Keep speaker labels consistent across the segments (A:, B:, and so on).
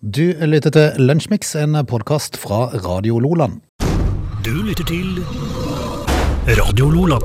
A: Du lytter til Lunsjmix, en podkast fra Radio Loland.
B: Du lytter til Radio Lola.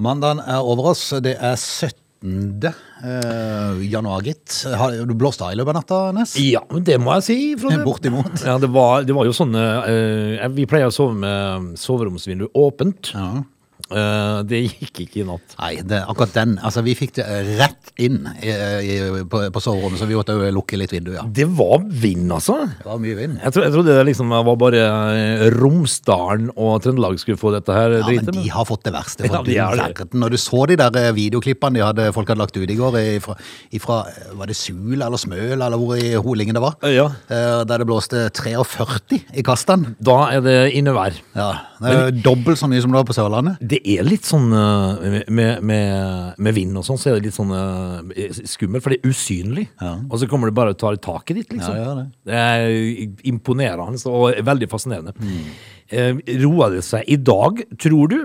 A: Mandagen er over oss. Det er 17. eh, januar, gitt. Har du blåst av i løpet av natta, Nes?
C: Ja, men det må jeg si, Frode.
A: Bortimot.
C: Ja, det var, det var jo sånne eh, Vi pleier å sove med soveromsvindu åpent.
A: Ja.
C: Eh, det gikk ikke i natt.
A: Nei, det, akkurat den. Altså, vi fikk det rett inn i, i, på, på soverommet, så vi måtte jo lukke litt vinduet. Ja.
C: Det var vind, altså.
A: Det var mye vind.
C: Jeg, tro, jeg trodde det liksom var bare eh, Romsdalen og Trøndelag skulle få dette her
A: Ja, men
C: dritet.
A: de har fått det verste. For
C: Ja, de
A: du
C: har det.
A: verden. Når du så de der eh, videoklippene de hadde, folk hadde lagt ut i går, ifra, ifra eh, var det Sula eller Smøla eller hvor i Holingen det var,
C: Eh, ja.
A: eh, der det blåste 43 i kastene.
C: Da er det innevær.
A: Ja, det er jo dobbelt så mye som det var på Sørlandet.
C: Det er litt sånn eh, med, med, med vind og sånn, så er det litt sånn eh, skummelt, for det er usynlig.
A: Ja.
C: Og så kommer det bare og tar tak i ditt, liksom.
A: Ja, det gjør det.
C: er imponerende altså, og veldig fascinerende. Mm. Roa det seg i dag, tror du?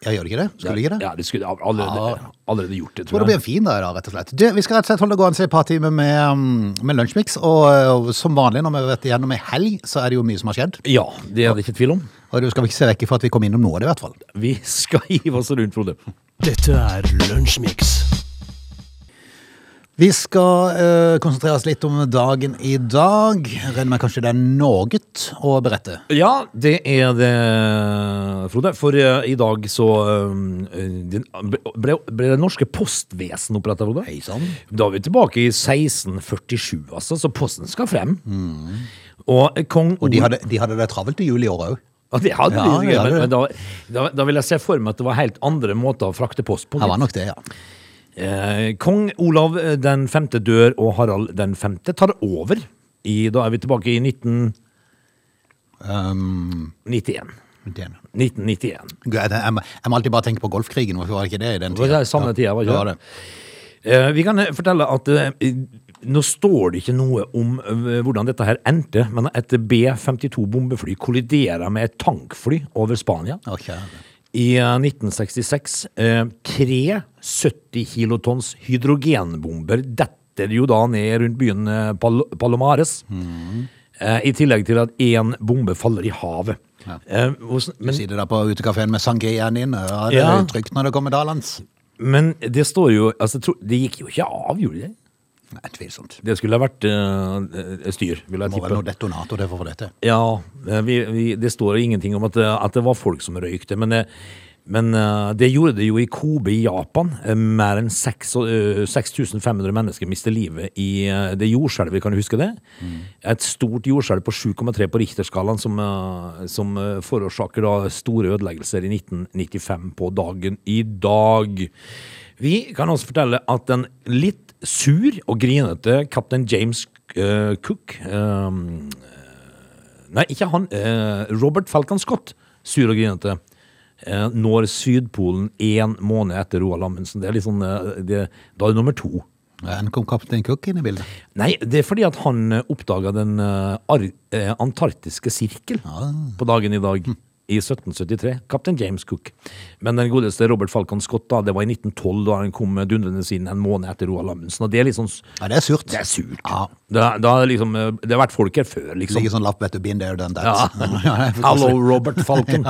A: Ja, gjør det ikke det? Skulle det ikke det?
C: Ja, det skulle jeg allerede, allerede gjort det,
A: Jeg tror det
C: tror jeg.
A: blir en fin dag i dag, rett og slett. Du, vi skal rett og slett holde gående til et par timer med, um, med Lunsjmix, og, og som vanlig når vi har vært igjennom ei helg, så er det jo mye som har skjedd.
C: Ja, det er det ikke tvil om.
A: Og du skal vel ikke se vekk ifra at vi kom innom noe av det, i hvert fall.
C: Vi skal hive oss rundt, Frode.
B: Dette er Lunsjmix.
A: Vi skal eh, konsentrere oss litt om dagen i dag. Regner med kanskje det er noe å berette.
C: Ja, det er det, Frode. For eh, i dag så eh, den- ble, ble det norske postvesen oppretta, Frode. Da er vi tilbake i 1647, altså. Så posten skal frem. Og eh, kong
A: Og de hadde, de hadde det travelt i jul i år òg.
C: Ja, det hadde
A: Ja,
C: de
A: det
C: sikkert,
A: hadde
C: men, men da, da, da vil jeg se for meg at det var helt andre måter å frakte post på.
A: Det var nok det, ja.
C: Eh, Kong Olav eh, den femte dør, og Harald den femte tar over. I, da er vi tilbake i 1991.
A: Um, 19.
C: 1991.
A: Gud, Jeg, jeg, må- jeg må alltid bare tenke på golfkrigen. Hvorfor var det ikke det i den
C: Det var
A: tida?
C: det samme tida, var ikke
A: Ja,
C: det? Eh, Vi kan eh, fortelle at eh, nå står det ikke noe om eh, hvordan dette her endte, men et B-52 bombefly kolliderer med et tankfly over Spania
A: Å, kjære.
C: i eh, 1966. Eh, Tre 70 kilotons hydrogenbomber detter jo da ned rundt byen eh, Pal Palomares.
A: Mm.
C: Eh, I tillegg til at én bombe faller i havet.
A: Ja.
C: Eh, hvordan-
A: Du
C: men-
A: sitter der på utekafeen med sangriaen din. Ja, det er
C: Ja.
A: jo trygt når det kommer dalans.
C: men det står jo altså, tro- Det gikk jo ikke av, gjorde det?
A: Nei, tvilsomt.
C: Det skulle ha vært eh, eh, styr, vil jeg
A: Må vel
C: tippe.
A: noe detonator til for å få det til.
C: Ja, eh, vi, vi, det står ingenting om at, eh, at det var folk som røykte, men, eh, men eh, det gjorde det jo i Kobe i Japan. Eh, Mer enn seks og- eh, 6500 mennesker mister livet i eh, det jordskjelvet, kan du huske det? Et stort jordskjelv på 7,3 på Richterskalaen som, eh, som eh, forårsaker da store ødeleggelser i 1995 på dagen i dag. Vi kan også fortelle at den litt sur og grinete kaptein James eh, Cook eh, Nei, ikke han. Eh, Robert Falcon Scott, sur og grinete, eh, når Sydpolen én måned etter Roald Amundsen. Det er litt sånn, eh, det, da er det nummer to.
A: En kom kaptein Cook inn i bildet.
C: Nei, det er fordi at han oppdaga den eh, ar eh, antarktiske sirkel på dagen i dag. I 1773. Kaptein James Cook. Men den godeste Robert Falcon Scott, da, det var i 1912, da han kom eh, dundrende inn en måned etter Roald Amundsen. Og det er litt sånn s-
A: Ja, det er surt.
C: Det er surt.
A: Ja.
C: Da, da er det liksom, eh, det har vært folk her før, liksom.
A: Ligger sånn lapp, vet du. Been there, done that.
C: Ja.
A: Ja, det er
C: Hallo,
A: forkastelig.
C: Robert Falcon.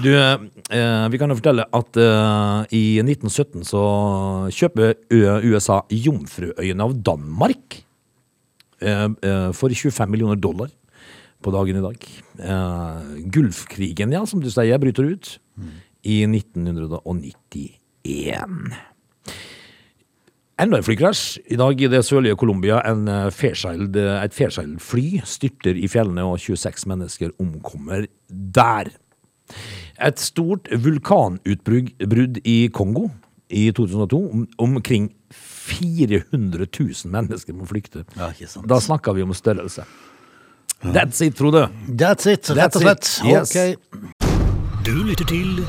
C: Du, eh, vi kan jo fortelle at eh, i 1917 så kjøper Ø- USA Jomfruøyene av Danmark eh, eh, for 25 millioner dollar på dagen i dag. Eh, Gulfkrigen, ja, som du sier, bryter ut i 1991. Enda en flykrasj. I dag i det sørlige Colombia. En eh, Fairchild, eh, et Fairchild-fly styrter i fjellene, og 26 mennesker omkommer der. Et stort vulkanutbrudd i Kongo i 2002. Om, omkring 400 000 mennesker må flykte.
A: Ja, ikke sant.
C: Da snakker vi om størrelse. That's it, Frode.
A: That's it, rett
C: That's
A: og slett.
C: it, yes.
A: Ok.
B: Du lytter til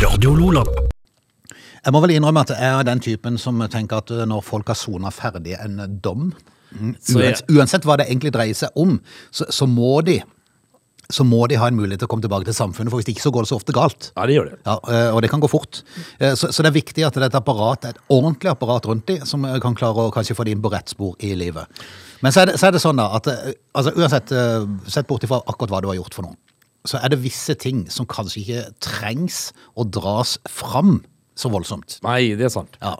B: Radio Lola.
A: Jeg må vel innrømme at jeg er den typen som tenker at eh, når folk har sona ferdig en eh, dom,
C: Så
A: Mm.
C: jeg-
A: uansett, uansett hva det egentlig dreier seg om, så, så må de så må de ha en mulighet til å komme tilbake til samfunnet, for hvis ikke så går det så ofte galt.
C: Ja, det gjør det.
A: Ja, eh, og det kan gå fort. Eh, Så, så det er viktig at det er et apparat, et ordentlig apparat rundt dem, som eh, kan klare å kanskje få dem inn på rett spor i livet. Men så er det, så er det sånn da, at eh, altså, uansett, eh, sett bort ifra akkurat hva du har gjort for noen, så er det visse ting som kanskje ikke trengs å dras fram så voldsomt.
C: Nei, det er sant.
A: Ja.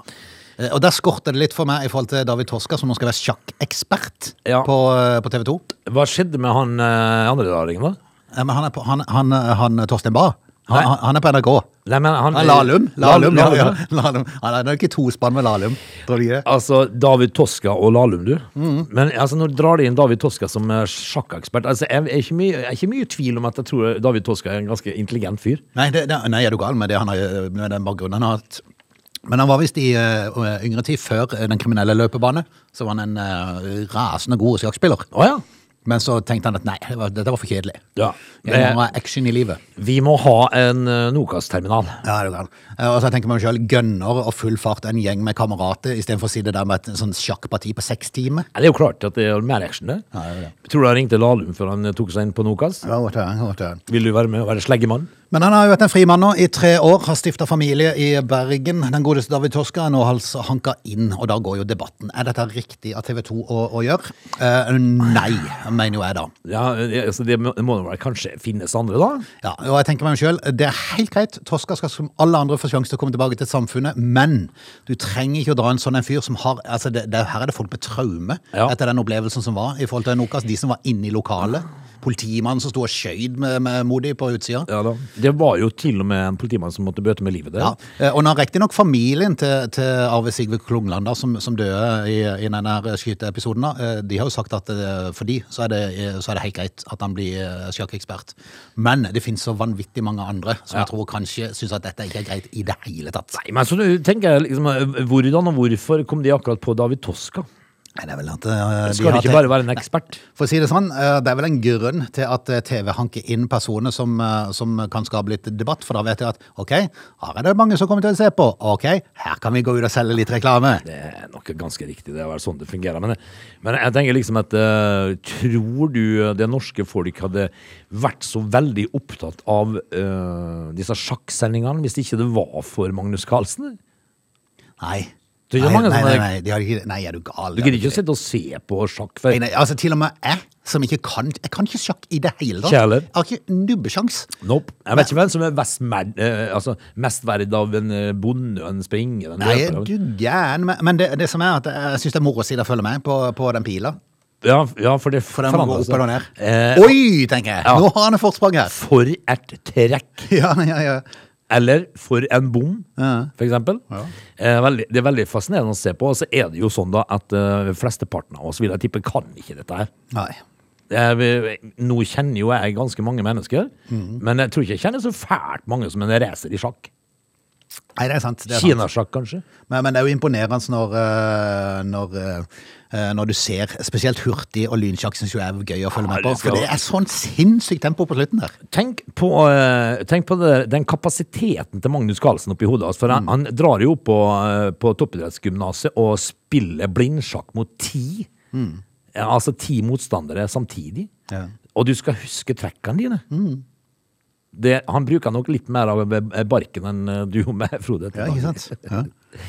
A: Eh, Og der skorter det litt for meg i forhold til David Torska, som nå skal være sjakkekspert
C: Ja.
A: på, eh, på TV 2.
C: Hva skjedde med han eh, andre raringen, da?
A: Eh, Men han er på, han, han, han Torstein Bae. Han,
C: Nei.
A: han- han er på NRK.
C: Nei, men han
A: Ja, Lahlum. Lahlum, ja,
C: Lahlum,
A: ja. Lahlum. Han er nok ikke to spann med Lahlum, tror du ikke det?
C: Altså, David Toska og Lahlum, du.
A: Mm.
C: Men altså, når du drar inn David Toska som eh, sjakkekspert altså, jeg, jeg, er ikke mye, jeg er ikke mye i tvil om at jeg tror David Toska er en ganske intelligent fyr.
A: Nei, det, det, nei, er du gal med det han har, med den bakgrunnen han har hatt? Men han var visst i eh, yngre tid, før eh, den kriminelle løpebane, så var han en eh, rasende god sjakkspiller.
C: Å ja.
A: Men så tenkte han at nei, det var, dette var for kjedelig.
C: Ja. Eh,
A: Jeg må ha action i livet.
C: Vi må ha en eh, Nokas-terminal.
A: Ja, det er galt. Eh, Og så tenker man selv, gønner og full fart en gjeng med kamerater, istedenfor å sitte der med et sånn sjakkparti på seks timer.
C: Ja, Det er jo klart at det er mer action, det.
A: Ja, det er
C: Tror du han ringte Lahlum før han eh, tok seg inn på Nokas?
A: Ja, godt å høre, godt å høre.
C: Vil du være med og være sleggemann?
A: Men han har jo vært en frimann nå i tre år, har stifta familie i Bergen. Den godeste David Torska er nå altså hanka inn, og da går jo debatten. Er dette riktig av TV 2 å, å gjøre? Eh, nei, mener jo jeg da.
C: Ja, eh, altså, Det må det må vel kanskje finnes andre, da?
A: Ja, og jeg tenker meg selv, Det er helt greit. Torska skal som alle andre få sjanse til å komme tilbake til samfunnet. Men du trenger ikke å dra en sånn en fyr som har altså det, det, Her er det folk med traume
C: Ja.
A: etter den opplevelsen som var i forhold til Nokas. De som var inne i lokalet. Politimannen som sto og skøyd med, med Modi på utsida.
C: Ja, da. Det var jo til og med en politimann som måtte bøte med livet der.
A: Ja, eh, og nå har riktignok familien til, til Arve Sigve Klungland, da, som, som døde i, i denne her skyteepisoden, da, eh, de har jo sagt at eh, for de så er, det, eh, så er det helt greit at han blir eh, sjakkekspert. Men det finnes så vanvittig mange andre som jeg tror kanskje syns at dette ikke er greit i det hele tatt.
C: Nei, men så tenker jeg liksom eh, Hvordan og hvorfor kom de akkurat på David Toska?
A: Nei, det er vel at eh, de
C: Skal
A: har
C: det ikke
A: til-
C: bare være en ekspert?
A: For å si det sånn, eh, det er vel en grunn til at eh, TV hanker inn personer som, eh, som kan skape litt debatt, for da vet jeg at ok, her er det mange som kommer til å se på, ok, her kan vi gå ut og selge litt reklame.
C: Det er nok ganske riktig, det er vel sånn det fungerer. Men, men jeg tenker liksom at eh, Tror du det norske folk hadde vært så veldig opptatt av eh, disse sjakksendingene hvis ikke det var for Magnus Carlsen?
A: Nei.
C: Du gjør
A: nei,
C: mange
A: nei,
C: sånne-
A: nei, nei, de har ikke, nei, er du gal?
C: Du gidder ikke å sitte og se på sjakk før?
A: Nei, nei, altså Til og med jeg, som ikke kan Jeg kan ikke sjakk i det hele tatt.
C: Kjærlighet.
A: Jeg har ikke nubbesjans.
C: Nope. Jeg vet ikke hvem som er best, merd, eh, altså, mest verd av en eh, bonde og en springer. En
A: Nei,
C: løper.
A: du gæren. Men- Men det, det som er at jeg syns det er moro å si det følger med på, på den pila.
C: ja, ja, for det
A: For den må gå
C: forandrer
A: opp eller ned.
C: seg. Eh,
A: Oi, tenker jeg.
C: Ja.
A: Nå har han et forsprang her.
C: for et trekk!
A: Ja, ja, ja.
C: Eller for en bom,
A: Ja.
C: for eksempel. Eh, veldig, det er veldig fascinerende å se på. Og så er det jo sånn da at eh, flesteparten av oss vil jeg tippe kan ikke dette her.
A: Nei.
C: Eh, vi- nå kjenner jo jeg ganske mange mennesker,
A: Mhm.
C: men jeg tror ikke jeg kjenner så fælt mange som en racer i sjakk.
A: Nei, det er sant. Det er sant.
C: Kinasjakk, kanskje.
A: Men, men det er jo imponerende når, eh, når, eh, når du ser spesielt hurtig og lynsjakk, syns jo jeg er gøy å følge
C: Ja,
A: med på.
C: det skal-
A: For det er sånn sinnssykt tempo på slutten der.
C: Tenk på, eh, tenk på det, den kapasiteten til Magnus Carlsen oppi hodet hans. For
A: Mm.
C: han, han drar jo opp på, eh, på toppidrettsgymnaset og spiller blindsjakk mot ti. Ja, Altså ti motstandere samtidig.
A: Mm. Ja. Mm.
C: Og du skal huske trekkene dine. Det, han bruker nok litt mer av eh, barken enn eh, du gjorde med Frode.
A: Ja, ikke sant? Ja.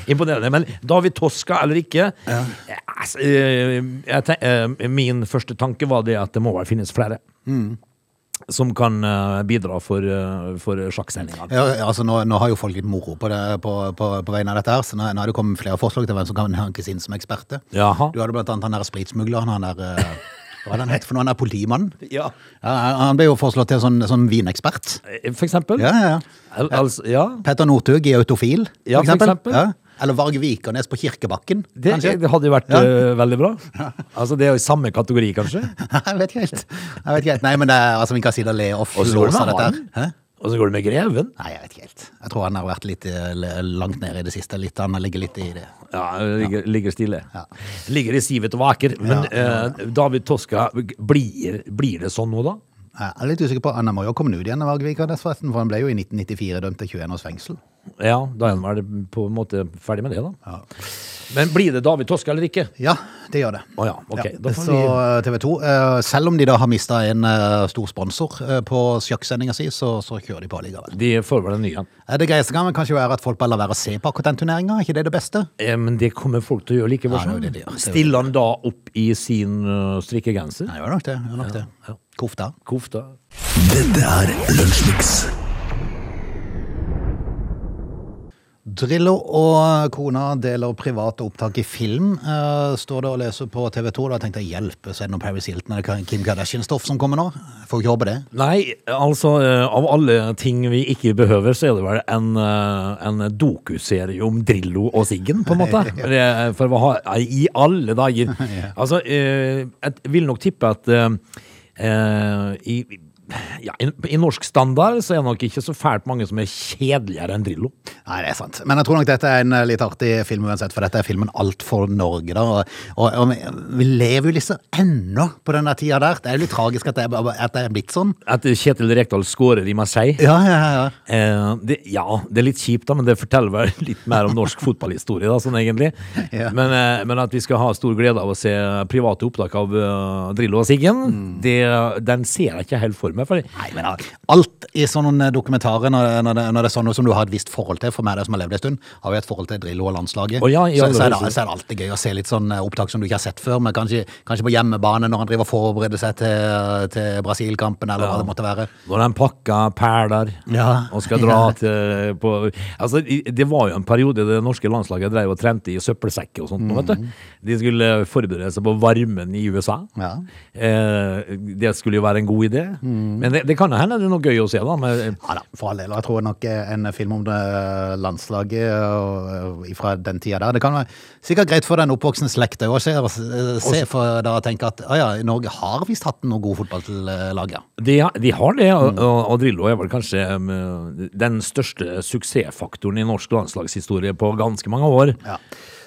C: Imponerende. Men David Toska eller ikke eh, altså, eh, jeg ten- eh, Min første tanke var det at det må vel finnes flere
A: Mm.
C: som kan eh, bidra for, eh, for sjakksendingene.
A: Ja, altså nå, nå har jo folk litt moro på, det, på, på, på vegne av dette her, så nå, nå har det kommet flere forslag til hvem som kan hankes inn som eksperter.
C: Jaha.
A: Du hadde blant annet han der spritsmugleren, han der eh, Hva er det han het for noe? Han er politimannen?
C: Ja.
A: Ja, han- han ble jo foreslått til sånn, sånn vinekspert.
C: Eh, For eksempel.
A: Ja, ja, ja.
C: Al altså, ja.
A: Petter Northug i Autofil,
C: Ja, for eksempel.
A: Ja. Eller Varg Vikernes på Kirkebakken,
C: Det,
A: kanskje?
C: det hadde jo vært
A: Ja.
C: eh, veldig bra. Altså, det er jo i samme kategori, kanskje.
A: Jeg vet ikke helt. Jeg vet ikke helt. Nei, men det er altså, vi kan si det le og
C: Og så går
A: flås
C: det
A: av
C: med
A: dette
C: han.
A: her. Hæ?
C: Og så går det med greven.
A: Nei, jeg vet ikke helt. Jeg tror han har vært litt eh, le- langt nede i det siste. Litt, han ligger litt i det.
C: Ja, ligger, ligger stille.
A: Ja.
C: Ligger i sivet og vaker. Men eh, David Toska, blir, blir det sånn nå, da?
A: Jeg er litt usikker på, Han må jo komme ut igjen, Varg Vikernes, forresten, for han ble jo i 1994 dømt til 21 års fengsel.
C: Ja, da er han vel på en måte ferdig med det, da. Men blir det David Toske eller ikke?
A: Ja, det gjør det.
C: Å ja, ok.
A: Ja,
C: Da får
A: så eh, TV 2, selv om de da har mista en eh, stor sponsor eh, på sjakksendinga si, så, så kjører de på likevel.
C: vi De får vel en ny en.
A: Eh, Det greieste kan vel kanskje være at folk bare lar være å se på akkurat den turneringa, er ikke det det beste?
C: Eh, Men det kommer folk til å gjøre likevel.
A: Ja, det er jo
C: sånn.
A: det de gjør. Det er jo
C: Stiller han da opp i sin øh, strikkegenser?
A: Nei, gjør nok det. Gjør nok det. Kofta.
C: Kofta?
B: Dette er Lunsjmix.
A: Drillo og kona deler private opptak i film, eh, står det å lese på TV 2. Da tenkte jeg hjelpe, så er det noe Paris Hilton eller Kim Kardashian-stoff som kommer nå? Får ikke håpe det.
C: Nei, altså eh, av alle ting vi ikke behøver, så er det vel en, eh, en dokuserie om Drillo og Siggen, på en måte. For, det- for hva har nei, I alle dager. Altså, eh, jeg vil nok tippe at eh, eh, i, ja, i, I norsk standard så er det nok ikke så fælt mange som er kjedeligere enn Drillo.
A: Nei, det er sant. Men jeg tror nok dette er en eh, litt artig film uansett, for dette er filmen Alt for Norge, da. Og, og, og vi- vi lever jo liksom ennå på den der tida der. Det er jo litt tragisk at det er, at det er blitt sånn.
C: At Kjetil Rekdal scorer i Marseille.
A: Ja, ja, ja.
C: Eh, det, ja, det er litt kjipt, da, men det forteller vel litt mer om norsk fotballhistorie. da, sånn egentlig.
A: Ja.
C: Men, eh, men at vi skal ha stor glede av å se private opptak av eh, Drillo og Siggen,
A: Mm.
C: det, den ser jeg ikke helt for meg. For
A: Nei, men al- alt i sånne dokumentarer, når, det- når, det, når det er sånn noe som du har et visst forhold til, for meg det som har levd en stund, har vi et forhold til Drillo og landslaget.
C: Å ja, i
A: så,
C: alle
A: så, er det,
C: fall.
A: så er det alltid gøy å se litt sånn eh, opptak som du ikke har sett før, men kanskje, kanskje på hjemmebane når han driver og forbereder seg til, til Brasil-kampen, eller hva det måtte være.
C: når de pakker perler
A: Ja.
C: og skal dra
A: Ja.
C: til på, altså, i- Det var jo en periode det norske landslaget drev og trente i søppelsekker og sånt. nå,
A: Mm.
C: Vet du. De skulle forberede seg på varmen i USA.
A: Ja. Mm.
C: Eh, det skulle jo være en god idé. Men det, det kan jo hende det er noe gøy å se. da, med eh,
A: Ja da, for all del. Og jeg tror nok eh, en film om det eh, landslaget og, eh, fra den tida der Det kan være sikkert greit for den oppvoksende slekt òg å se, eh, se for da å tenke at ah, ja, Norge har visst hatt noen gode fotballag, eh, ja.
C: De, ha- de har det,
A: Mm.
C: og, og- og Drillo er vel kanskje um, den største suksessfaktoren i norsk landslagshistorie på ganske mange år.
A: ja.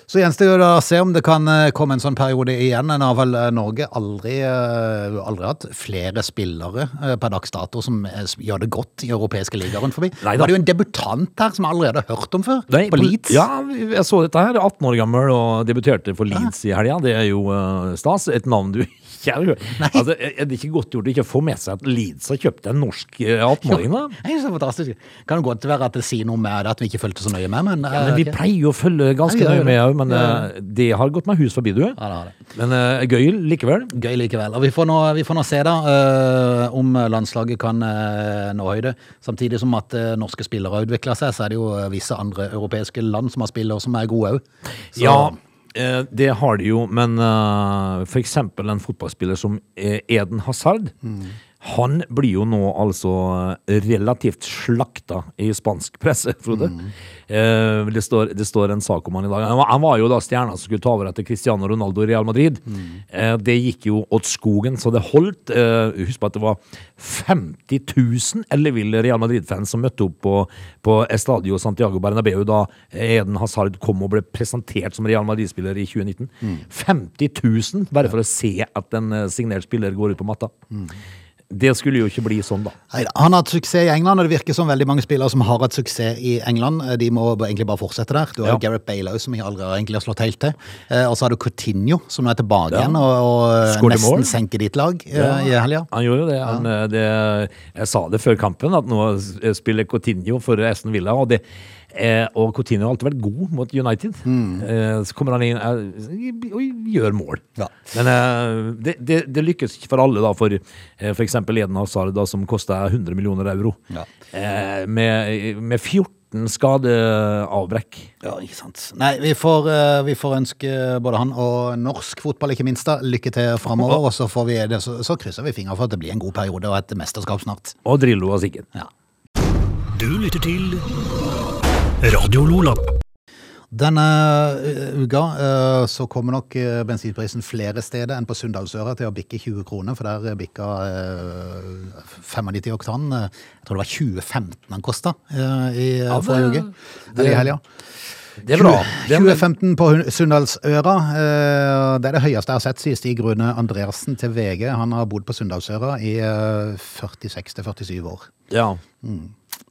A: Så gjenstår det å se om det kan eh, komme en sånn periode igjen. En har vel eh, Norge aldri, eh, aldri hatt flere spillere eh, per dags dato som eh, s- gjør det godt i europeiske ligaer rundt forbi.
C: Nei
A: Nå
C: da.
A: var det jo en debutant her som jeg allerede har hørt om før,
C: Nei,
A: på Leeds.
C: Ja, jeg så dette her. 18 år gammel og debuterte for Leeds i helga. Det er jo eh, stas. Et navn du ikke har hørt. Altså, er det ikke godt gjort å ikke få med seg at Leeds har kjøpt en norsk eh, 18-åring, da?
A: Det er jo så fantastisk. Kan det godt være at det sier noe med det at vi ikke fulgte så nøye med, men,
C: Ja, men vi
A: eh, ok.
C: pleier jo å følge ganske
A: Ja, vi gjør
C: nøye med
A: det.
C: òg, men eh, det har gått meg hus forbi, du.
A: det har det.
C: Men eh, gøy likevel.
A: Gøy likevel. Og vi får nå, vi får nå se da eh, om landslaget kan eh, nå høyde. Samtidig som at eh, norske spillere har utvikla seg, så er det jo eh, visse andre europeiske land som har spillere som er gode òg.
C: Ja, eh, det har de jo, men eh, for eksempel en fotballspiller som eh, Eden Hazard, han blir jo nå altså eh, relativt slakta i spansk presse, Frode. Eh, det, står, det står en sak om han i dag. Han var, han var jo da stjerna som skulle ta over etter Cristiano Ronaldo i Real Madrid. Eh, det gikk jo åt skogen, så det holdt. Eh, husk på at det var 50 000 elleville Real Madrid-fans som møtte opp på, på Estadio Santiago Bernabeu da Eden Hazard kom og ble presentert som Real Madrid-spiller i 2019. 50 000 bare for å se at en eh, signert spiller går ut på matta. Det skulle jo ikke bli sånn, da.
A: Neida, Han har hatt suksess i England, og det virker som veldig mange spillere som har hatt suksess i England. eh, De må ba- egentlig bare fortsette der. Du har
C: Ja.
A: jo Gareth Bale også, som jeg aldri har egentlig har slått helt til. Eh, Og så har du Coutinho, som nå er tilbake igjen og, og eh,
C: Skårte mål.
A: nesten senker ditt lag eh, i helga.
C: Han gjorde jo det. Han, eh, det. Jeg sa det før kampen, at nå s- spiller Coutinho for Aston Villa. Og, det, eh, og Coutinho har alltid vært god mot United.
A: Mm.
C: Eh, så kommer han inn eh, og gjør mål.
A: Ja.
C: Men eh, det, det, det lykkes ikke for alle, da, for eh, for eksempel Eden Hazard, da, som kosta 100 millioner euro.
A: Ja.
C: Eh, med, med 14 skadeavbrekk.
A: Ja, ikke sant. Nei, vi får, eh, vi får ønske både han og norsk fotball, ikke minst, da, lykke til framover. Og så, får vi, det- så, så krysser vi fingre for at det blir en god periode og et mesterskap snart.
C: Og Drillo og Siggen.
A: Ja.
B: Du lytter til Radio Lola.
A: Denne eh, uka eh, så kommer nok eh, bensinprisen flere steder enn på Sunndalsøra til å bikke 20 kroner, for der eh, bikka eh, 95 oktan. eh, Jeg tror det var 2015 den kosta i eh,
C: Ja, det-
A: forrige uke.
C: det-
A: Eller i helga.
C: Det er bra. Det er,
A: 2015 på Hun- Sunndalsøra. eh, Det er det høyeste jeg har sett, sier Stig Rune Andreassen til VG. Han har bodd på Sunndalsøra i eh, 46 til 47 år.
C: ja.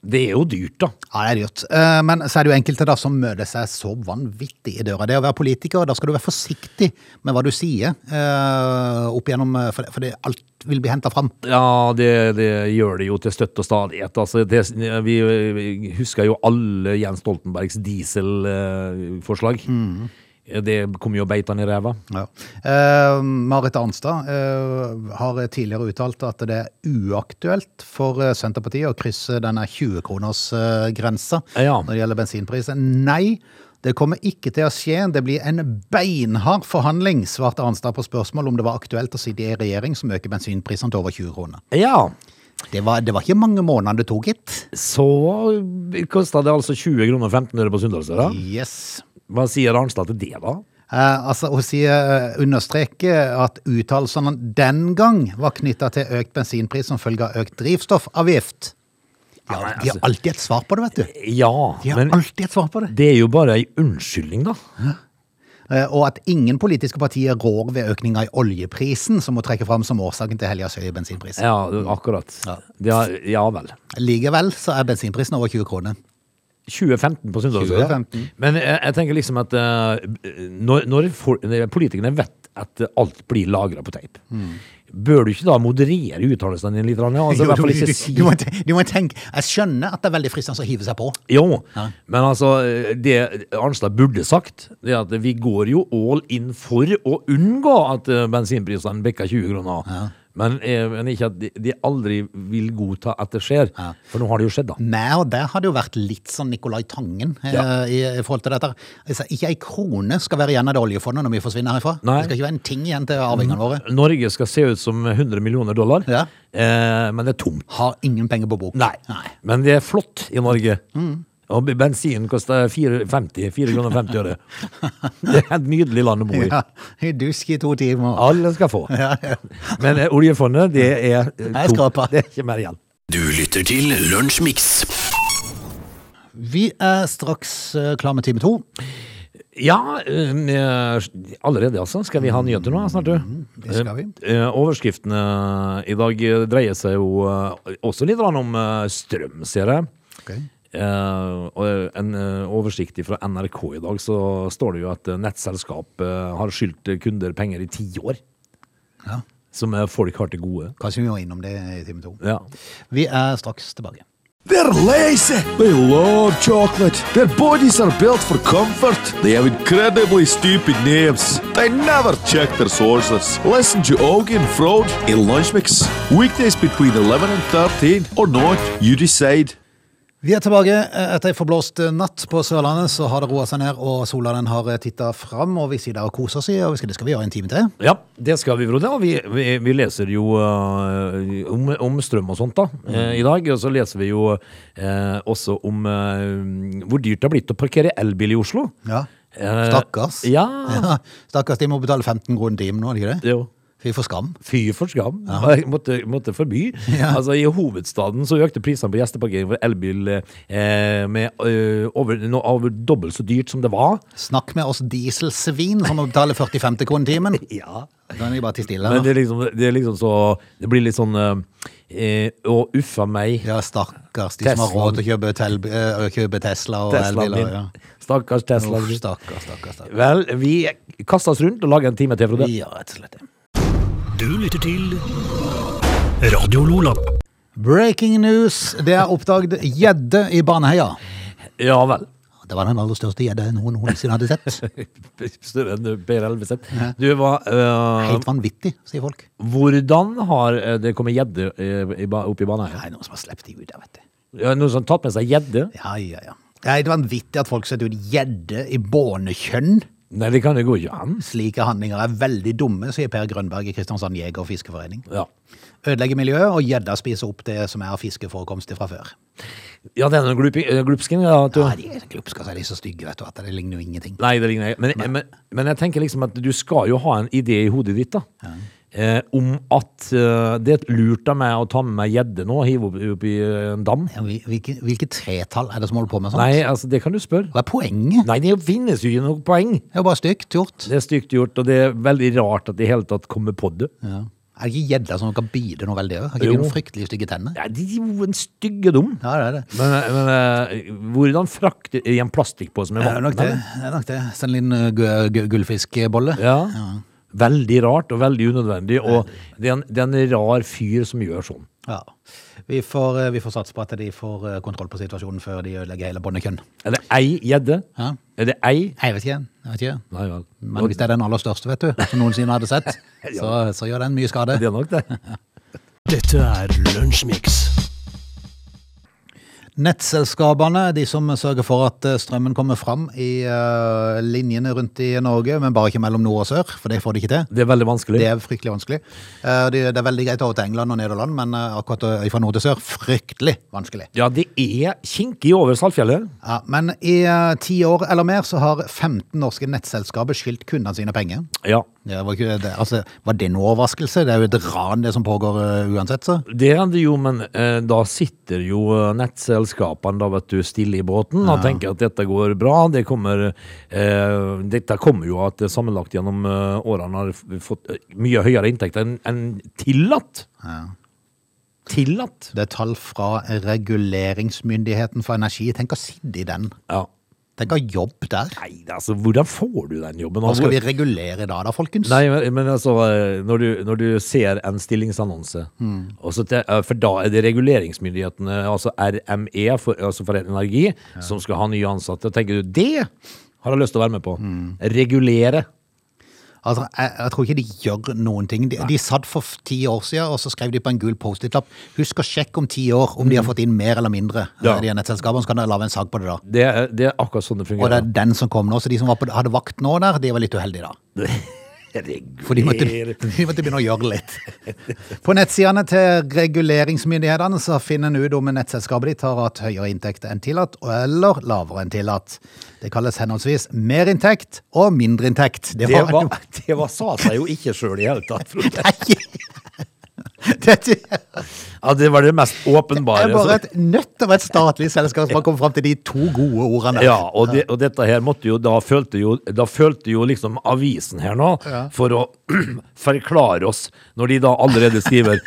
C: Det er jo dyrt, da.
A: Ja, det er dyrt. Eh, Men så er det jo enkelte da som møter seg så vanvittig i døra. Det å være politiker, da skal du være forsiktig med hva du sier eh, opp igjennom, eh, for, for det, alt vil bli henta fram.
C: Ja, det, det gjør det jo til støtte og stadighet. Altså, det, vi, vi husker jo alle Jens Stoltenbergs dieselforslag. Det kom jo beita i ræva.
A: Ja. Eh, Marit Arnstad eh, har tidligere uttalt at det er uaktuelt for eh, Senterpartiet å krysse denne 20-kronersgrensa
C: Ja.
A: når det gjelder bensinpriser. Nei, det kommer ikke til å skje. Det blir en beinhard forhandling, svarte Arnstad på spørsmål om det var aktuelt å sitte i en regjering som øker bensinprisene til over 20 kroner.
C: Ja,
A: Det var, det var ikke mange månedene det tok, gitt.
C: så kosta det altså 20 kroner og 15 øre på Sunndalsøra.
A: Yes.
C: Hva sier Arnstad til det, da?
A: Eh, altså, Hun sier, understreker at uttalelsene den gang var knytta til økt bensinpris som følge av økt drivstoffavgift. Ja,
C: Nei,
A: De har
C: altså-
A: alltid et svar på det, vet du.
C: Ja,
A: De har
C: men
A: alltid et svar på det.
C: det er jo bare ei unnskyldning, da.
A: Eh, Og at ingen politiske partier rår ved økninga i oljeprisen, som hun trekker fram som årsaken til helgas høye bensinpris.
C: Ja, akkurat.
A: Ja.
C: Det er, ja vel.
A: Likevel så er bensinprisen over 20 kroner.
C: 2015 på Sunndalsøra.
A: 2015.
C: Men jeg, jeg tenker liksom at eh, når, når, for, når politikerne vet at alt blir lagra på teip, bør du ikke da moderere uttalelsene dine litt? Ranne? Altså, i hvert fall
A: du,
C: ikke
A: du,
C: si
A: må, te- du må tenke, Jeg skjønner at det er veldig fristende å hive seg på.
C: Jo,
A: Ja.
C: men altså eh, Det Arnstad burde sagt, det er at vi går jo all in for å unngå at eh, bensinprisene bikker 20 kroner. Men, eh, men ikke at de, de aldri vil godta at det skjer. For nå har det jo skjedd, da.
A: Meg og deg hadde jo vært litt sånn Nicolai Tangen eh,
C: Ja.
A: i, i forhold til dette. Altså, ikke ei krone skal være igjen av det oljefondet når vi forsvinner herfra.
C: Nei.
A: Det skal ikke være en ting igjen til arvingene våre.
C: Norge skal se ut som 100 millioner dollar,
A: Ja.
C: eh, men det er tomt.
A: Har ingen penger på bok.
C: Nei. Men det er flott i Norge.
A: Mm.
C: Og bensin koster 4,50 4 kroner 50 øre. Det er et nydelig land å bo i.
A: Ja, I dusk i to timer.
C: Alle skal få. Men eh, oljefondet, det er eh,
A: Nei, skrapa.
C: Det er ikke mer igjen.
B: Du lytter til Lunsjmix.
A: Vi er straks eh, klar med time to.
C: Ja, eh, allerede altså. Skal vi ha nyheter nå snart, du?
A: Mm, det skal vi.
C: Eh, Overskriftene i dag eh, dreier seg jo eh, også litt grann om eh, strøm, ser jeg. Eh, og en eh, oversikt fra NRK i dag, så står det jo at eh, nettselskap eh, har skyldt kunder penger i ti år.
A: Ja.
C: Som eh, folk har til gode.
A: Kanskje vi må innom det i time to.
C: Ja.
A: Vi er straks tilbake.
D: They're lazy. They love chocolate. Their bodies are built for comfort. They have incredibly stupid names. They never check their sources. Listen to Augie and Frode in Lunch Mix. Weekdays between 11 and 13 or not, you decide.
A: Vi er tilbake eh, etter en forblåst natt på Sørlandet. Så har det roa seg ned, og sola den har titta fram. Og vi sitter der og koser oss, i, og vi skal, det skal vi gjøre en time til.
C: ja, det skal vi, Frode. Og vi, vi, vi leser jo eh, om, om strøm og sånt da, eh, i dag. Og så leser vi jo eh, også om eh, hvor dyrt det har blitt å parkere elbil i Oslo.
A: Ja.
C: Eh,
A: Stakkars.
C: Ja.
A: Ja, Stakkars, de må betale 15 kroner timen nå, er det ikke det?
C: Jo.
A: Fy for skam.
C: Fy for skam. Jeg måtte, måtte forby.
A: Ja.
C: Altså, I hovedstaden så økte prisene på gjesteparkering for elbil eh, med eh, over, nå, over dobbelt så dyrt som det var.
A: Snakk med oss dieselsvin som må betale 40-50 kroner timen.
C: Ja.
A: Da er de bare til stille.
C: Men
A: da.
C: det er, liksom, det er liksom så Det blir litt sånn eh, Å, uffa meg.
A: Ja, stakkars de som har råd til å kjøpe, tel, eh, kjøpe Tesla og
C: Teslaen
A: elbiler.
C: min.
A: Ja.
C: Stakkars Tesla.
A: Uff, stakkars, stakkars, stakkars.
C: Vel, vi kaster oss rundt og lager en time til, Frode.
A: Ja, rett og slett.
B: Du lytter til Radio Lola.
A: Breaking news. Det er oppdaget gjedde i Baneheia.
C: Ja vel.
A: Det var den aller største gjedda noen noensinne hadde sett.
C: Større enn Per Elveseth. Du, hva eh,
A: Helt vanvittig, sier folk.
C: Hvordan har eh, det kommet gjedde eh, i ba- opp i banen her?
A: Nei, noen som har sluppet de ut, jeg vet det.
C: Ja, Noen som har tatt med seg gjedde?
A: Ja, ja, ja. Det er helt vanvittig at folk setter ut gjedde i bånekjønn.
C: Nei, det kan jo gå ikke an.
A: Slike handlinger er veldig dumme, sier Per Grønberg i Kristiansand Jeger- og Fiskeforening.
C: Ja.
A: Ødelegge miljøet, og gjedda spiser opp det som er av fiskeforekomster fra før.
C: ja, det er noen glupi- eh, glupsken. Ja, at du...
A: Ja, de er glupske, så er de så stygge, vet du, at det ligner jo ingenting.
C: Nei, det ligner jeg. Men, men, men jeg tenker liksom at du skal jo ha en idé i hodet ditt, da. Eh, om at eh, det er lurt av meg å ta med meg gjedde nå og hive opp, opp i eh, en dam.
A: Ja, hvil- Hvilke, hvilke tretall er det som holder på med sånt?
C: Nei, altså, det kan du spørre.
A: Hva er poenget?
C: Nei, det finnes jo ikke noe poeng.
A: Det er jo bare stygt gjort.
C: Det er stygt gjort, og det er veldig rart at de i hele tatt kommer på det.
A: Ja. Er det ikke gjedda som kan bite noe veldig? Har ikke de
C: Jo.
A: noen fryktelig stygge tenner?
C: Ja, de er jo en styggedom.
A: Ja, det er det.
C: Men, eh, men eh, hvordan frakter i en plastikkpose med
A: Det er
C: vann?
A: nok det. det, er nok det. Send inn uh, gu- gu- gullfiskbolle.
C: Ja. Veldig rart og veldig unødvendig. Og det er, en, det er en rar fyr som gjør sånn.
A: Ja. Vi får, eh, vi får satse på at de får eh, kontroll på situasjonen før de ødelegger hele bondekønn.
C: Er det ei gjedde?
A: Ja.
C: Er det ei?
A: Jeg vet ikke. Jeg vet ikke.
C: Nei vel.
A: Men hvis det er den aller største, vet du, som noensinne hadde sett, så, så gjør den mye skade.
C: Det er nok det.
B: Dette er Lunsjmix.
A: Nettselskapene, de som sørger for at eh, strømmen kommer fram i eh, linjene rundt i Norge, men bare ikke mellom nord og sør, for det får de ikke til.
C: Det er veldig vanskelig.
A: Det er fryktelig vanskelig. Eh, Det det er veldig greit over til England og Nederland, men eh, akkurat fra nord til sør, fryktelig vanskelig.
C: Ja, det er kinkig over Saltfjellet.
A: Ja, men i eh, ti år eller mer så har 15 norske nettselskaper skyldt kundene sine penger.
C: Ja.
A: Det var, ikke, det, altså, var det noe overraskelse? Det er jo et ran det som pågår eh, uansett, så.
C: Det er det jo, men eh, da sitter jo eh, nettselskapene da, vet du, stille i båten og tenker at dette går bra. Det kommer, eh, dette kommer jo at det sammenlagt gjennom eh, årene har f- fått eh, mye høyere inntekter enn enn tillatt. Tillatt?
A: Det er tall fra reguleringsmyndigheten for energi. Tenk å sitte i den.
C: Ja.
A: Tenk å jobbe der.
C: Nei, altså, hvordan får du den jobben?
A: Hva skal vi regulere da, da, folkens?
C: Nei, men, men altså, eh, når du, når du ser en stillingsannonse, og så te- eh, for da er det reguleringsmyndighetene, altså RME, for, altså for energi, som skal ha nye ansatte. Tenker du, det har jeg lyst til å være med på. Regulere.
A: Altså, jeg, jeg tror ikke de gjør noen ting. De, de satt for f- ti år siden, og så skrev de på en gul Post-It-lapp Husk å sjekke om ti år om de har fått inn mer eller mindre.
C: Ja.
A: eh, De her nettselskapene, så kan dere lage en sak på det da.
C: Det, er- det er akkurat sånn det
A: Og det
C: fungerer.
A: er den som kom nå, så de som var på, hadde vakt nå der, de var litt uheldige da. For de måtte,
C: Regulere.
A: de måtte begynne å gjøre litt. På nettsidene til reguleringsmyndighetene så finner en ut om nettselskapet ditt har hatt høyere inntekter enn tillatt, eller lavere enn tillatt. Det kalles henholdsvis merinntekt og mindreinntekt.
C: Det var, det var sa seg jo ikke sjøl i hele tatt. Frode.
A: Nei! Dette
C: Ja, det var det mest åpenbare.
A: er bare et nøtt av et statlig selskap som har kommet fram til de to gode ordene.
C: Ja, og, det, og dette her måtte jo Da følte jo, da følte jo liksom avisen her nå for å forklare oss, når de da allerede skriver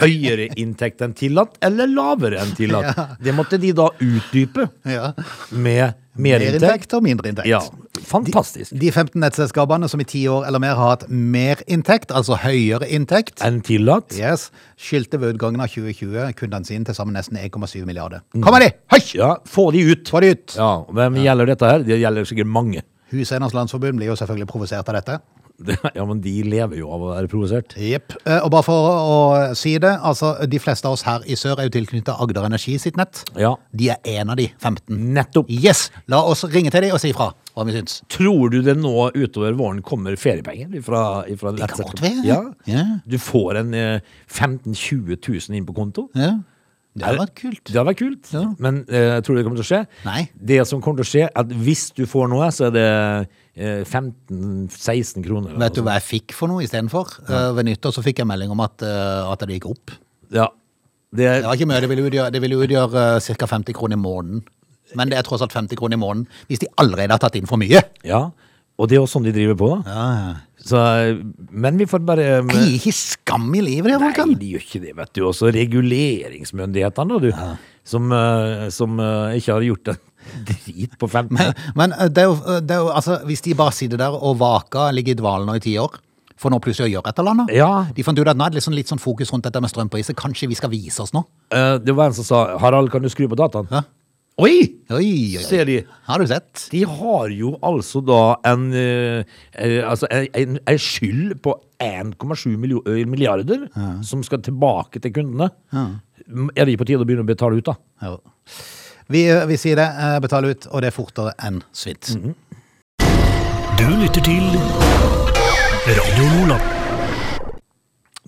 C: høyere inntekt enn tillatt, eller lavere enn tillatt. Det måtte de da utdype
A: Ja.
C: med merinntekt.
A: Merinntekt og mindreinntekt.
C: Ja, fantastisk.
A: De 15 nettselskapene som i ti år eller mer har hatt merinntekt, altså høyere inntekt,
C: Enn tillatt?
A: yes, skyldte ved utgangen av 2020 kundene sine til sammen nesten 1,7 milliarder. Kommer de! Høy!
C: Ja, få de ut.
A: Få de ut!
C: Ja, Hvem gjelder dette her? Det gjelder sikkert mange.
A: Huseiernes Landsforbund blir jo selvfølgelig provosert av dette.
C: Det- Ja, Men de lever jo av å være provosert.
A: Jepp. Eh, Og bare for å si det, altså de fleste av oss her i sør er jo tilknyttet Agder Energi sitt nett.
C: Ja.
A: De er en av de 15.
C: Nettopp.
A: Yes! La oss ringe til de og si ifra hva vi syns.
C: Tror du det nå utover våren kommer feriepenger fra, fra Det
A: kan godt være.
C: Ja.
A: Ja.
C: Du får en eh, 15 000-20 000 inn på konto.
A: Ja. Det
C: Er-
A: hadde vært kult.
C: Det hadde vært kult,
A: Ja.
C: men eh, tror du det kommer til å skje?
A: Nei.
C: Det som kommer til å skje, er at hvis du får noe, så er det eh, 15-16 kroner. eller
A: Vet du
C: noe sånt.
A: hva jeg fikk for noe istedenfor? Ja. Ved nyttår så fikk jeg melding om at, eh, at det gikk opp.
C: Ja. Det,
A: Det var ikke mye, det ville utgjøre, det ville utgjøre ca. 50 kroner i måneden. Men det er tross alt 50 kroner i måneden hvis de allerede har tatt inn for mye.
C: ja. Og det er jo sånn de driver på. da. Så, eh, men vi får bare eh,
A: Jeg gir ikke skam i livet, de
C: Nei,
A: folkene.
C: de gjør ikke det, vet du. Også reguleringsmyndighetene, da, du. Som, eh, som eh, ikke har gjort en drit på 15
A: Men, men eh, det er jo, eh, det er jo altså, hvis de bare sitter der og vaker, ligger i dvalen nå i ti år for nå plutselig å gjøre et eller annet.
C: Ja.
A: De fant ut at nå er det litt sånn, litt sånn fokus rundt dette med strømpriser. Kanskje vi skal vise oss nå?
C: Eh, Det var en som sa 'Harald, kan du skru på dataen?'
A: Ja.
C: Oi!
A: Oi, oi, oi.
C: Ser de.
A: Har du sett?
C: De har jo altså da en eh, eh, altså en, en, en skyld på 1,7 miljo- eh, milliarder som skal tilbake til kundene. M- Er det ikke på tide å begynne å betale ut, da?
A: Ja. Vi, eh, vi sier det, eh, betal ut, og det er fortere enn svint.
C: Mhm.
B: Du lytter til Radio Lola.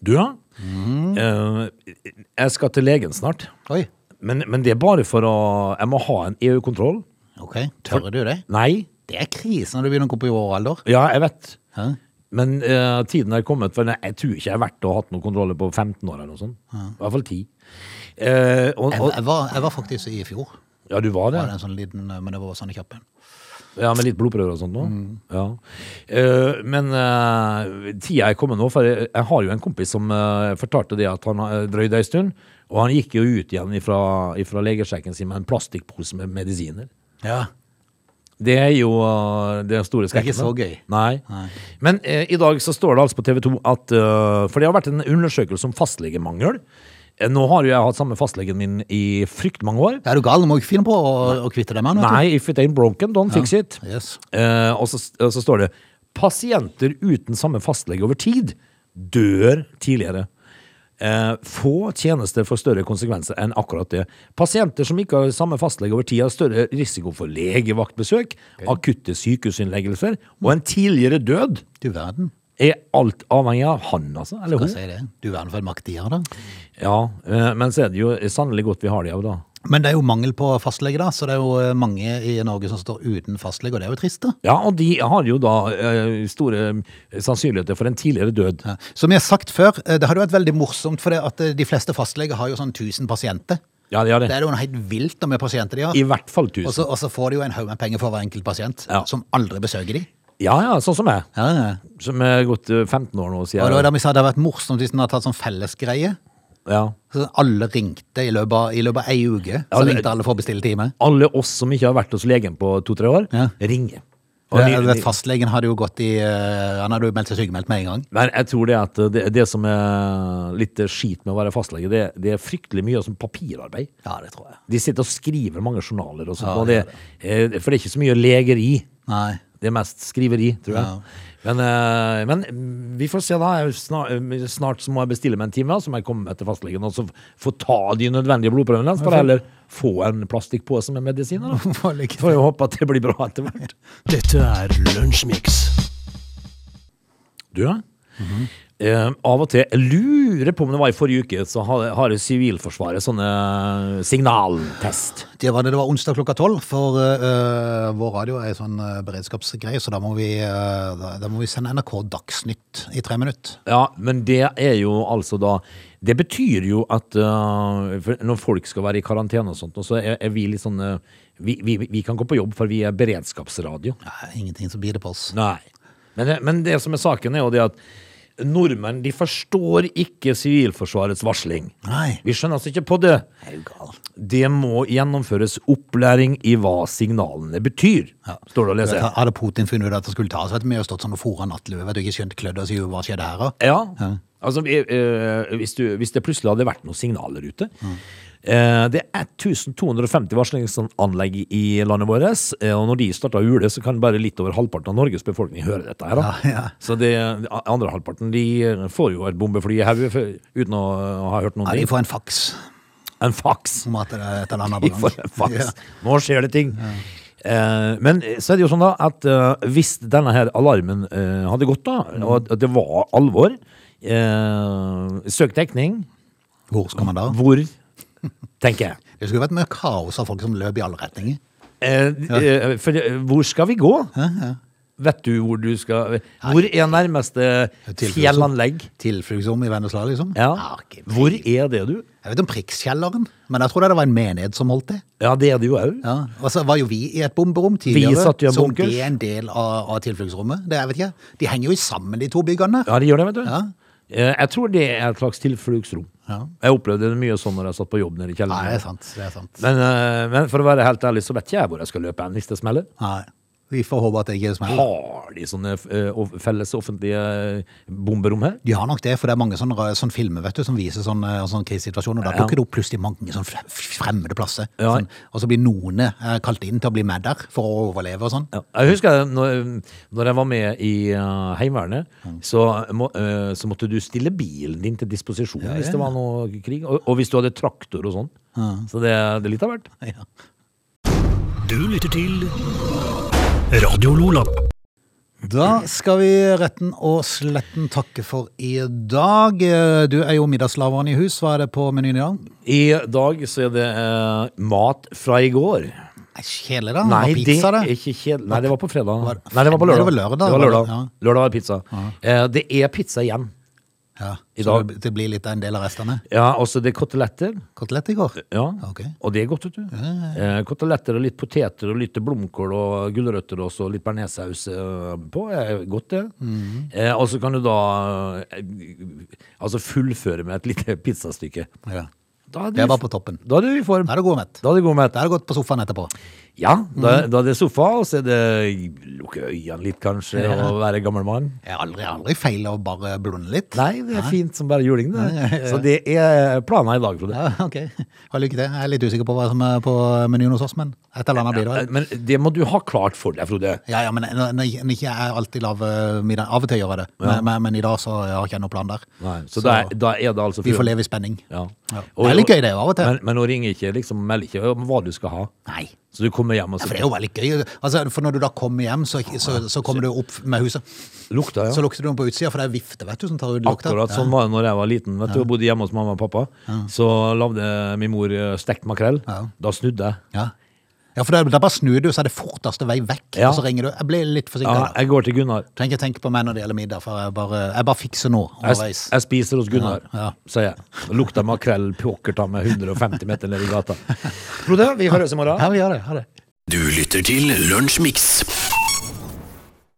C: Du, ja.
A: Mm.
C: Eh, jeg skal til legen snart.
A: Oi,
C: Men, men det er bare for å Jeg må ha en EU-kontroll.
A: ok. Tør du det?
C: Nei.
A: Det er krise når du begynner å gå på vår alder.
C: Ja, jeg vet.
A: Hæ?
C: Men eh, tiden er kommet, for jeg tror ikke jeg har vært og hatt noen kontroller på 15 år eller noe sånt. I hvert fall 10. Eh, og,
A: Jeg,
C: og,
A: jeg, var, jeg var faktisk i fjor.
C: ja, du var det?
A: Var det en sånn liten, eh, men det var sånn kjapp en.
C: Ja, med litt blodprøver og sånt nå. Ja. Eh, men eh, tida er kommet nå, for jeg, jeg har jo en kompis som eh, fortalte det at han eh, drøyde ei stund, og han gikk jo ut igjen ifra, ifra legesjekken sin med en plastikkpose med medisiner.
A: Ja.
C: Det er jo uh, den store
A: er
C: skrekken.
A: ikke så gøy.
C: Nei. Men eh, i dag så står det altså på TV 2 at eh, For det har vært en undersøkelse om fastlegemangel. Eh, Nå har jo jeg hatt samme fastlegen min i frykt mange år.
A: Er du gal? Du må jo ikke finne på å, å kvitte deg med han. vet
C: Nei, if it ain't broken, don't fix it.
A: du. Yes.
C: Eh, og, så, og så står det Pasienter uten samme fastlege over tid dør tidligere. Eh, få tjenester får større konsekvenser enn akkurat det. Pasienter som ikke har samme fastlege over tid, har større risiko for legevaktbesøk, akutte sykehusinnleggelser og en tidligere død.
A: Du verden.
C: Er alt avhengig av han, altså? Eller
A: Hva
C: hun?
A: sier det? Du verden for en makt de har, da.
C: Ja, eh, men så er det jo sannelig godt vi har de av, da.
A: Men det er jo mangel på fastlege, da. Så det er jo eh, mange i Norge som står uten fastlege, og det er jo trist, da.
C: Ja, og de har jo da eh, store sannsynligheter for en tidligere død.
A: Ja. Som jeg har sagt før, eh, det hadde jo vært veldig morsomt, for det at eh, de fleste fastleger har jo sånn 1000 pasienter.
C: Ja, de har
A: Det
C: det.
A: er jo noe helt vilt hvor mye pasienter de har.
C: I hvert fall
A: Og
C: 1000.
A: så, og så får de jo en haug med penger for hver enkelt pasient,
C: Ja.
A: som aldri besøker de.
C: Ja, ja, sånn som jeg.
A: Ja, ja.
C: Som er gått eh, 15 år nå, sier
A: Og det
C: jeg.
A: var da vi sa det hadde vært morsomt hvis den hadde tatt sånn fellesgreie.
C: Ja.
A: Så alle ringte i løpet av, i løpet av ei uke. Så
C: Ja, det-
A: ringte alle for å bestille time.
C: Alle oss som ikke har vært hos legen på to-tre år,
A: Ja.
C: ringer. Og
A: Og
C: ni-
A: jeg
C: ni-
A: vet, fastlegen hadde jo gått i eh, Han hadde jo meldt seg sykemeldt med en gang.
C: Men jeg tror det at det, det som er litt eh, skit med å være fastlege, det, det er fryktelig mye som papirarbeid.
A: Ja, det tror jeg.
C: De sitter og skriver mange journaler og sånt,
A: Ja,
C: og det, eh, for det er ikke så mye legeri.
A: Nei.
C: Det er mest skriveri, tror jeg.
A: Ja.
C: Men, eh, men vi får se, da. Jeg Snart, eh, snart så må jeg bestille meg en time, så må jeg komme til fastlegen og så få ta de nødvendige blodprøvene. Så får jeg heller få en plastikkpose med medisiner. da.
A: Får lykke til.
C: Får jo håpe at det blir bra etter hvert.
B: Dette er Lunsjmix.
C: Du, ja. eh, av og til Jeg lurer på om det var i forrige uke, så har, har Sivilforsvaret sånne signaltest.
A: Det var det, det var onsdag klokka tolv, for eh, vår radio er en sånn eh, beredskapsgreie, så da må, vi, eh, da, da må vi sende NRK Dagsnytt i tre minutter.
C: Ja, men det er jo altså da Det betyr jo at eh, for når folk skal være i karantene og sånt, nå, så er, er vi litt sånn eh, vi, vi, vi kan gå på jobb, for vi er beredskapsradio.
A: Nei, ingenting som blir det på oss.
C: Nei. Men det, men det som er saken, er jo det at nordmenn de forstår ikke Sivilforsvarets varsling.
A: Nei.
C: Vi skjønner altså ikke på det.
A: Er du gal?
C: Det må gjennomføres opplæring i hva signalene betyr, står det å lese.
A: Hadde Putin funnet ut at det skulle ta, så hadde vi jo stått sånn og fôret nattlue, vet du ikke skjønt klødd og sier hva skjedde her da?
C: Ja, altså vi- eh, hvis, du, hvis det plutselig hadde vært noen signaler ute. Eh, Det er 1250 varslingsanlegg i landet vårt, eh, og når de starter ule, så kan bare litt over halvparten av Norges befolkning høre dette her. Da.
A: Ja, ja.
C: Så det, andre halvparten de får jo et bombefly i hodet for- uten å ha hørt noen
A: Ja,
C: ting.
A: de får en faks
C: En faks!
A: om at det er et eller annet
C: Vi får
A: abonnement.
C: en faks.
A: Ja.
C: Nå skjer det ting. Eh, men så er det jo sånn da at eh, hvis denne her alarmen eh, hadde gått, da, og at det var alvor eh, Søk dekning.
A: Hvor skal man da?
C: Hvor, tenker jeg.
A: Det skulle vært mye kaos av folk som løp i alle retninger.
C: Eh, eh, for, eh, hvor skal vi gå? Vet du hvor du skal Hvor er nærmeste
A: Tilfluktsrom.
C: fjellanlegg?
A: Tilfluktsrom i Vennesla, liksom.
C: Ja.
A: ikke-
C: Hvor er Ah, det, du?
A: Jeg vet om Prikskjelleren, men jeg tror det var en menighet som holdt det.
C: Ja, det er det jo òg.
A: Ja, og så var jo vi i et bomberom tidligere,
C: satt i en
A: som
C: bunkers.
A: det er en del av, av tilfluktsrommet. Det, jeg vet ikke, de henger jo sammen, de to byggene.
C: Ja, det gjør det, vet du.
A: Ja.
C: Eh, jeg tror det er et slags tilfluktsrom.
A: Ja.
C: Jeg opplevde det mye sånn når jeg satt på jobb nede i kjelleren.
A: Nei, det er sant, det er sant.
C: Men, eh, men for å være helt ærlig, så vet ikke jeg hvor jeg skal løpe hen hvis det smeller.
A: Nei, vi får håpe at det ikke smeller.
C: Har de sånne eh, off- felles offentlige eh, bomberom her?
A: De har nok det, for det er mange sånne, ra- sånne filmer vet du, som viser sånne, altså sånne krisesituasjoner. Da
C: Ja.
A: dukker det opp plutselig mange sånne fre- fremmede plasser.
C: Ja.
A: Sånn, og så blir noen eh, kalt inn til å bli med der for å overleve og sånn.
C: Ja. Jeg husker når, når jeg var med i eh, Heimevernet, så, må, eh, så måtte du stille bilen din til disposisjon hvis det var noe krig. Og, og hvis du hadde traktor og sånn. Så det, det er litt av hvert.
A: Ja.
B: Du lytter til Radio Lola.
A: Da skal vi retten og sletten takke for i dag. Eh, Du er jo middagsslaveren i hus. Hva er det på menyen i dag?
C: I dag så er det eh, mat fra i går.
A: Nei, Kjedelig, da.
C: Nei,
A: Nei, pizza,
C: Ah, det
A: det.
C: er ikke kjedelig. Nei, det var på fredag.
A: Var-
C: Nei, det Ah. var på
A: Nei, det
C: lørdag.
A: var lørdag.
C: Det var lørdag.
A: Ja.
C: Lørdag var pizza. Eh, det er pizza igjen.
A: Ja.
C: I
A: Så
C: dag-
A: det- det blir litt av en del av restene?
C: Ja, altså det er koteletter.
A: Kotelett i går?
C: Ja,
A: Ok.
C: og det er godt, vet du. Eh, Koteletter og litt poteter og litt blomkål og gulrøtter og så litt bearnéssaus eh, på. er godt, det. Eh, og så kan du da eh, altså fullføre med et lite pizzastykke.
A: Ja.
C: Da er du
A: Det
C: i
A: var
C: f-
A: på toppen.
C: Da er du i form.
A: Da er det god mett.
C: Da er det god mat.
A: Da er det godt på sofaen etterpå.
C: Ja, da, da er det sofa, og så er det lukke øynene litt, kanskje, og være gammel mann.
A: Jeg har aldri, aldri feil å bare blunde litt.
C: Nei, det er fint som bare juling, det.
A: Ja, ja, ja.
C: Så det er planen i dag, Frode.
A: Ja, ok. Ha lykke til. Jeg er litt usikker på hva som er på menyen hos oss, men et eller annet blir det vel.
C: Men det må du ha klart for deg, Frode.
A: Ja, ja, men når når jeg når ikke jeg alltid lager middag, av og til gjør jeg det, men, men, men i dag så har jeg ikke noen plan der.
C: så da er, da er det altså
A: vi får leve i spenning.
C: Ja.
A: Ja. Det er litt gøy det jo av og til.
C: Men, men nå ringer ikke liksom, melder ikke om hva du skal ha.
A: Nei.
C: Så du kommer hjem og
A: Ja,
C: så
A: for det er jo veldig gøy. Altså, for når du da kommer hjem, så, så, så kommer du opp med huset.
C: lukter, ja.
A: Så lukter du den på utsida, for det er vifte, vet du, som tar ut lukta.
C: Akkurat sånn var det når jeg var liten. Vet du, og bodde hjemme hos mamma og pappa. Så lagde min mor eh, stekt makrell.
A: Ja.
C: Da snudde jeg.
A: Ja. ja, for da, da bare snur du, så er det forteste vei vekk,
C: Ja.
A: og så ringer du. Jeg ble litt
C: Ja,
A: forsinka.
C: jeg går til Gunnar.
A: Trenger ikke tenke på meg når det gjelder middag, for jeg bare, jeg bare fikser nå
C: Jeg,
A: underveis.
C: jeg spiser hos Gunnar,
A: Ja, ja.
C: sier jeg. Og Lukter makrell pokker ta meg 150 meter ned i gata. Frode, vi høres i morgen.
A: Ja, vi gjør det. Ha det.
B: Du lytter til Lunsjmix.